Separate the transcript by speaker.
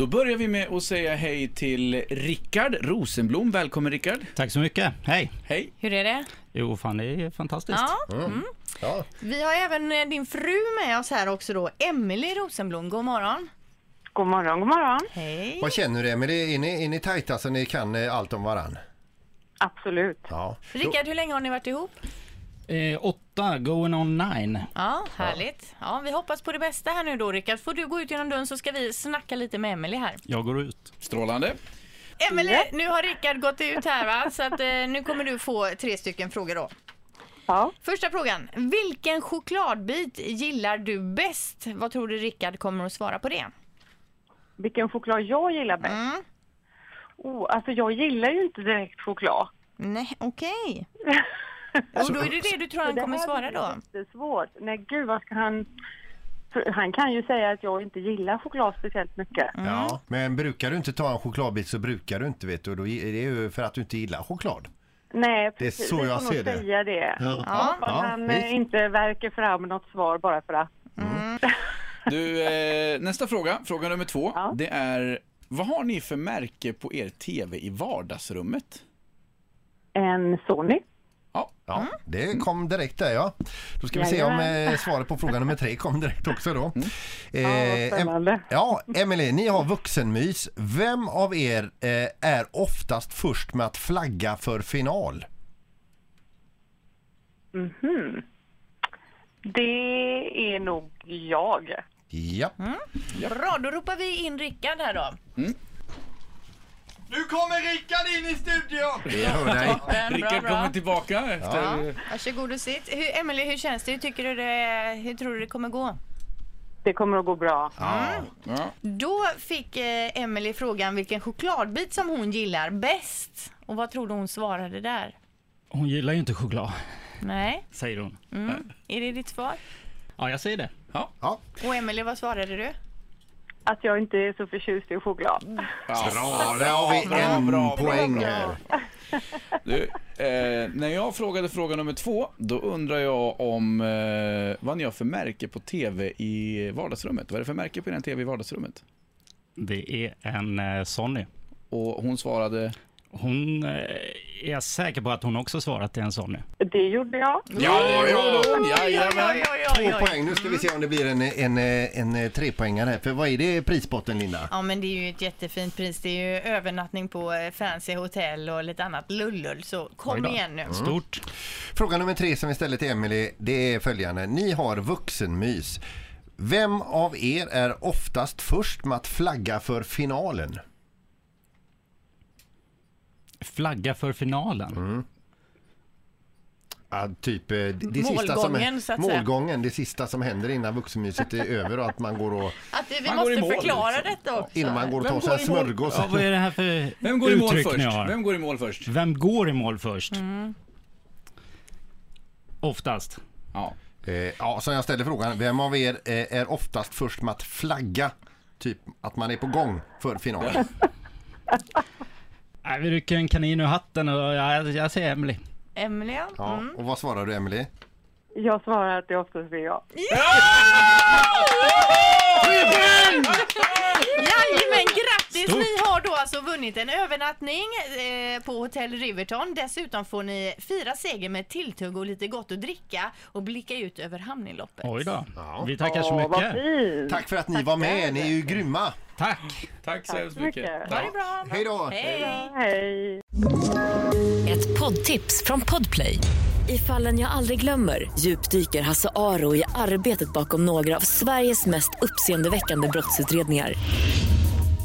Speaker 1: Då börjar vi med att säga hej till Rickard Rosenblom. Välkommen Rickard.
Speaker 2: Tack så mycket. Hej.
Speaker 1: Hej.
Speaker 3: Hur är det?
Speaker 2: Jo, fan det är fantastiskt.
Speaker 3: Ja.
Speaker 4: Ja,
Speaker 3: Vi har även eh, din fru med oss här också då, Emelie Rosenblom. God morgon.
Speaker 5: God morgon, god morgon.
Speaker 3: Hej.
Speaker 4: vad känner du Emelie? Är ni, är ni tajta så ni kan eh, allt om varann?
Speaker 5: Absolut.
Speaker 4: Ja.
Speaker 3: Rickard, hur länge har ni varit ihop?
Speaker 2: Eh, åtta, going on nine.
Speaker 3: Ja, härligt. Ja, vi hoppas på det bästa här nu då Rickard. Får du gå ut genom dörren så ska vi snacka lite med Emelie här.
Speaker 2: Jag går ut.
Speaker 1: Strålande.
Speaker 3: Emelie, nu har Rickard gått ut här va? Så att, eh, nu kommer du få tre stycken frågor då.
Speaker 5: Ja.
Speaker 3: Första frågan. Vilken chokladbit gillar du bäst? Vad tror du Rickard kommer att svara på det?
Speaker 5: Vilken choklad jag gillar bäst?
Speaker 3: Mm.
Speaker 5: Oh, alltså jag gillar ju inte direkt choklad.
Speaker 3: Nej, okej. Och då är det det du tror han
Speaker 5: Det
Speaker 3: kommer
Speaker 5: här
Speaker 3: svara
Speaker 5: blir
Speaker 3: då?
Speaker 5: jättesvårt. Nej gud vad ska han... för Han kan ju säga att jag inte gillar choklad speciellt mycket.
Speaker 4: ja. Men brukar du inte ta en chokladbit så brukar du inte vet du. Och Då är det ju för att du inte gillar choklad.
Speaker 5: Nej
Speaker 4: Det är
Speaker 5: precis,
Speaker 4: så
Speaker 5: vi
Speaker 4: jag
Speaker 5: får nog
Speaker 4: ser det.
Speaker 5: säga det.
Speaker 3: Ja.
Speaker 5: Om han eh,
Speaker 4: visst.
Speaker 5: inte verkar fram något svar bara för att.
Speaker 1: Du, eh, nästa fråga, fråga nummer två.
Speaker 5: Ja.
Speaker 1: Det är, vad har ni för märke på er TV i vardagsrummet?
Speaker 5: En Sony.
Speaker 1: Ja,
Speaker 4: Ja, det kom direkt där ja. Då ska vi se om
Speaker 5: mm. Jajamän. Mm.
Speaker 4: eh, svaret på fråga nummer tre kom direkt också då. Eh,
Speaker 5: Ja, vad spännande.
Speaker 4: Em- ja, Emelie, ni har vuxenmys. Vem av er eh, är oftast först med att flagga för final?
Speaker 5: Det är nog jag.
Speaker 4: Ja.
Speaker 5: Mm.
Speaker 3: Bra, då ropar vi in Rickard här då.
Speaker 6: Nu kommer Rickard in i studion!
Speaker 4: Jag hör dig.
Speaker 1: Rickard kommer tillbaka efter...
Speaker 3: Ja, varsågod och sitt. Hur, Emily, hur känns det? Hur, tycker du det? hur tror du det kommer gå?
Speaker 5: Det kommer att gå bra.
Speaker 1: Ja.
Speaker 3: Då fick eh, Emily frågan vilken chokladbit som hon gillar bäst. Och vad tror du hon svarade där?
Speaker 2: Hon gillar ju inte choklad,
Speaker 3: Nej,
Speaker 2: säger hon.
Speaker 3: är det ditt svar?
Speaker 2: Ja, jag säger det.
Speaker 4: Ja.
Speaker 3: Och Emily, vad svarade du?
Speaker 5: Att jag inte är så förtjust i
Speaker 4: Mm.
Speaker 5: choklad.
Speaker 4: Bra, där har vi en
Speaker 1: bra, bra,
Speaker 4: poäng här.
Speaker 1: Du, eh, när jag frågade fråga nummer två, då undrar jag om eh, vad ni har för märke på TV i vardagsrummet. Vad är det för märke på er TV i vardagsrummet?
Speaker 2: Det är en eh, Sonny.
Speaker 1: Och hon svarade...
Speaker 2: Hon eh, är jag säker på att hon också svarat till en Sonny.
Speaker 5: Det gjorde jag.
Speaker 1: Ja, ja,
Speaker 3: Oj, oj, oj,
Speaker 4: Två
Speaker 3: oj.
Speaker 4: poäng. Nu ska vi se om det blir en, en, en, en trepoängare här. För vad är det i prispotten Linda?
Speaker 3: Ja men det är ju ett jättefint pris. Det är ju övernattning på eh, fancy hotell och lite annat lullull. Så
Speaker 2: Oj
Speaker 3: kom
Speaker 2: då.
Speaker 3: igen nu.
Speaker 2: Stort.
Speaker 4: Fråga nummer tre som vi ställer till Emelie det är följande. Ni har vuxenmys. Vem av er är oftast först med att flagga för finalen?
Speaker 2: Flagga för finalen.
Speaker 1: Mm.
Speaker 4: Ja, typ eh, det, det sista
Speaker 3: Målgången,
Speaker 4: som,
Speaker 3: så att säga.
Speaker 4: målgången, det sista som händer innan vuxenmyset är över och att man går och,
Speaker 3: Att vi
Speaker 1: Man går i
Speaker 3: måste
Speaker 1: mål,
Speaker 3: förklara
Speaker 1: liksom.
Speaker 3: detta också.
Speaker 4: innan man går och
Speaker 1: Vem
Speaker 4: tar sig en
Speaker 1: går i mål?
Speaker 4: smörgås.
Speaker 2: Ja, vad är det här för
Speaker 1: Vem går i mål
Speaker 2: uttryck
Speaker 1: först?
Speaker 2: ni har?
Speaker 1: Vem går i mål först?
Speaker 2: Vem går i mål först? Oftast.
Speaker 1: Ja.
Speaker 4: Eh, ja, som jag ställer frågan, vem av er eh, är oftast först med att flagga? Typ att man är på gång för finalen.
Speaker 2: Nej, vi rycker en kanin ur hatten och jag, jag säger Emily.
Speaker 3: Emelie, ja.
Speaker 4: Ja, Och vad svarar du Emelie?
Speaker 5: Jag svarar att det oftast är jag.
Speaker 3: Jajamän, grattis!
Speaker 2: Stort.
Speaker 3: Ni har då alltså vunnit en övernattning eh, på Hotel Riverton. Dessutom får ni fira seger med tilltugg och lite gott att dricka och blicka ut över hamninloppet.
Speaker 2: Oj då.
Speaker 4: Ja.
Speaker 2: Vi tackar så
Speaker 5: Åh, vad
Speaker 2: mycket.
Speaker 5: fint!
Speaker 4: Tack för att ni var med, ni är ju grymma!
Speaker 2: Tack.
Speaker 1: Tack så hemskt mycket.
Speaker 5: mycket.
Speaker 3: Ha det bra!
Speaker 4: Hej då!
Speaker 3: Hej!
Speaker 5: Hej!
Speaker 7: Ett poddtips från Podplay. I fallen jag aldrig glömmer djupdyker Hasse Aro i arbetet bakom några av Sveriges mest uppseendeväckande brottsutredningar.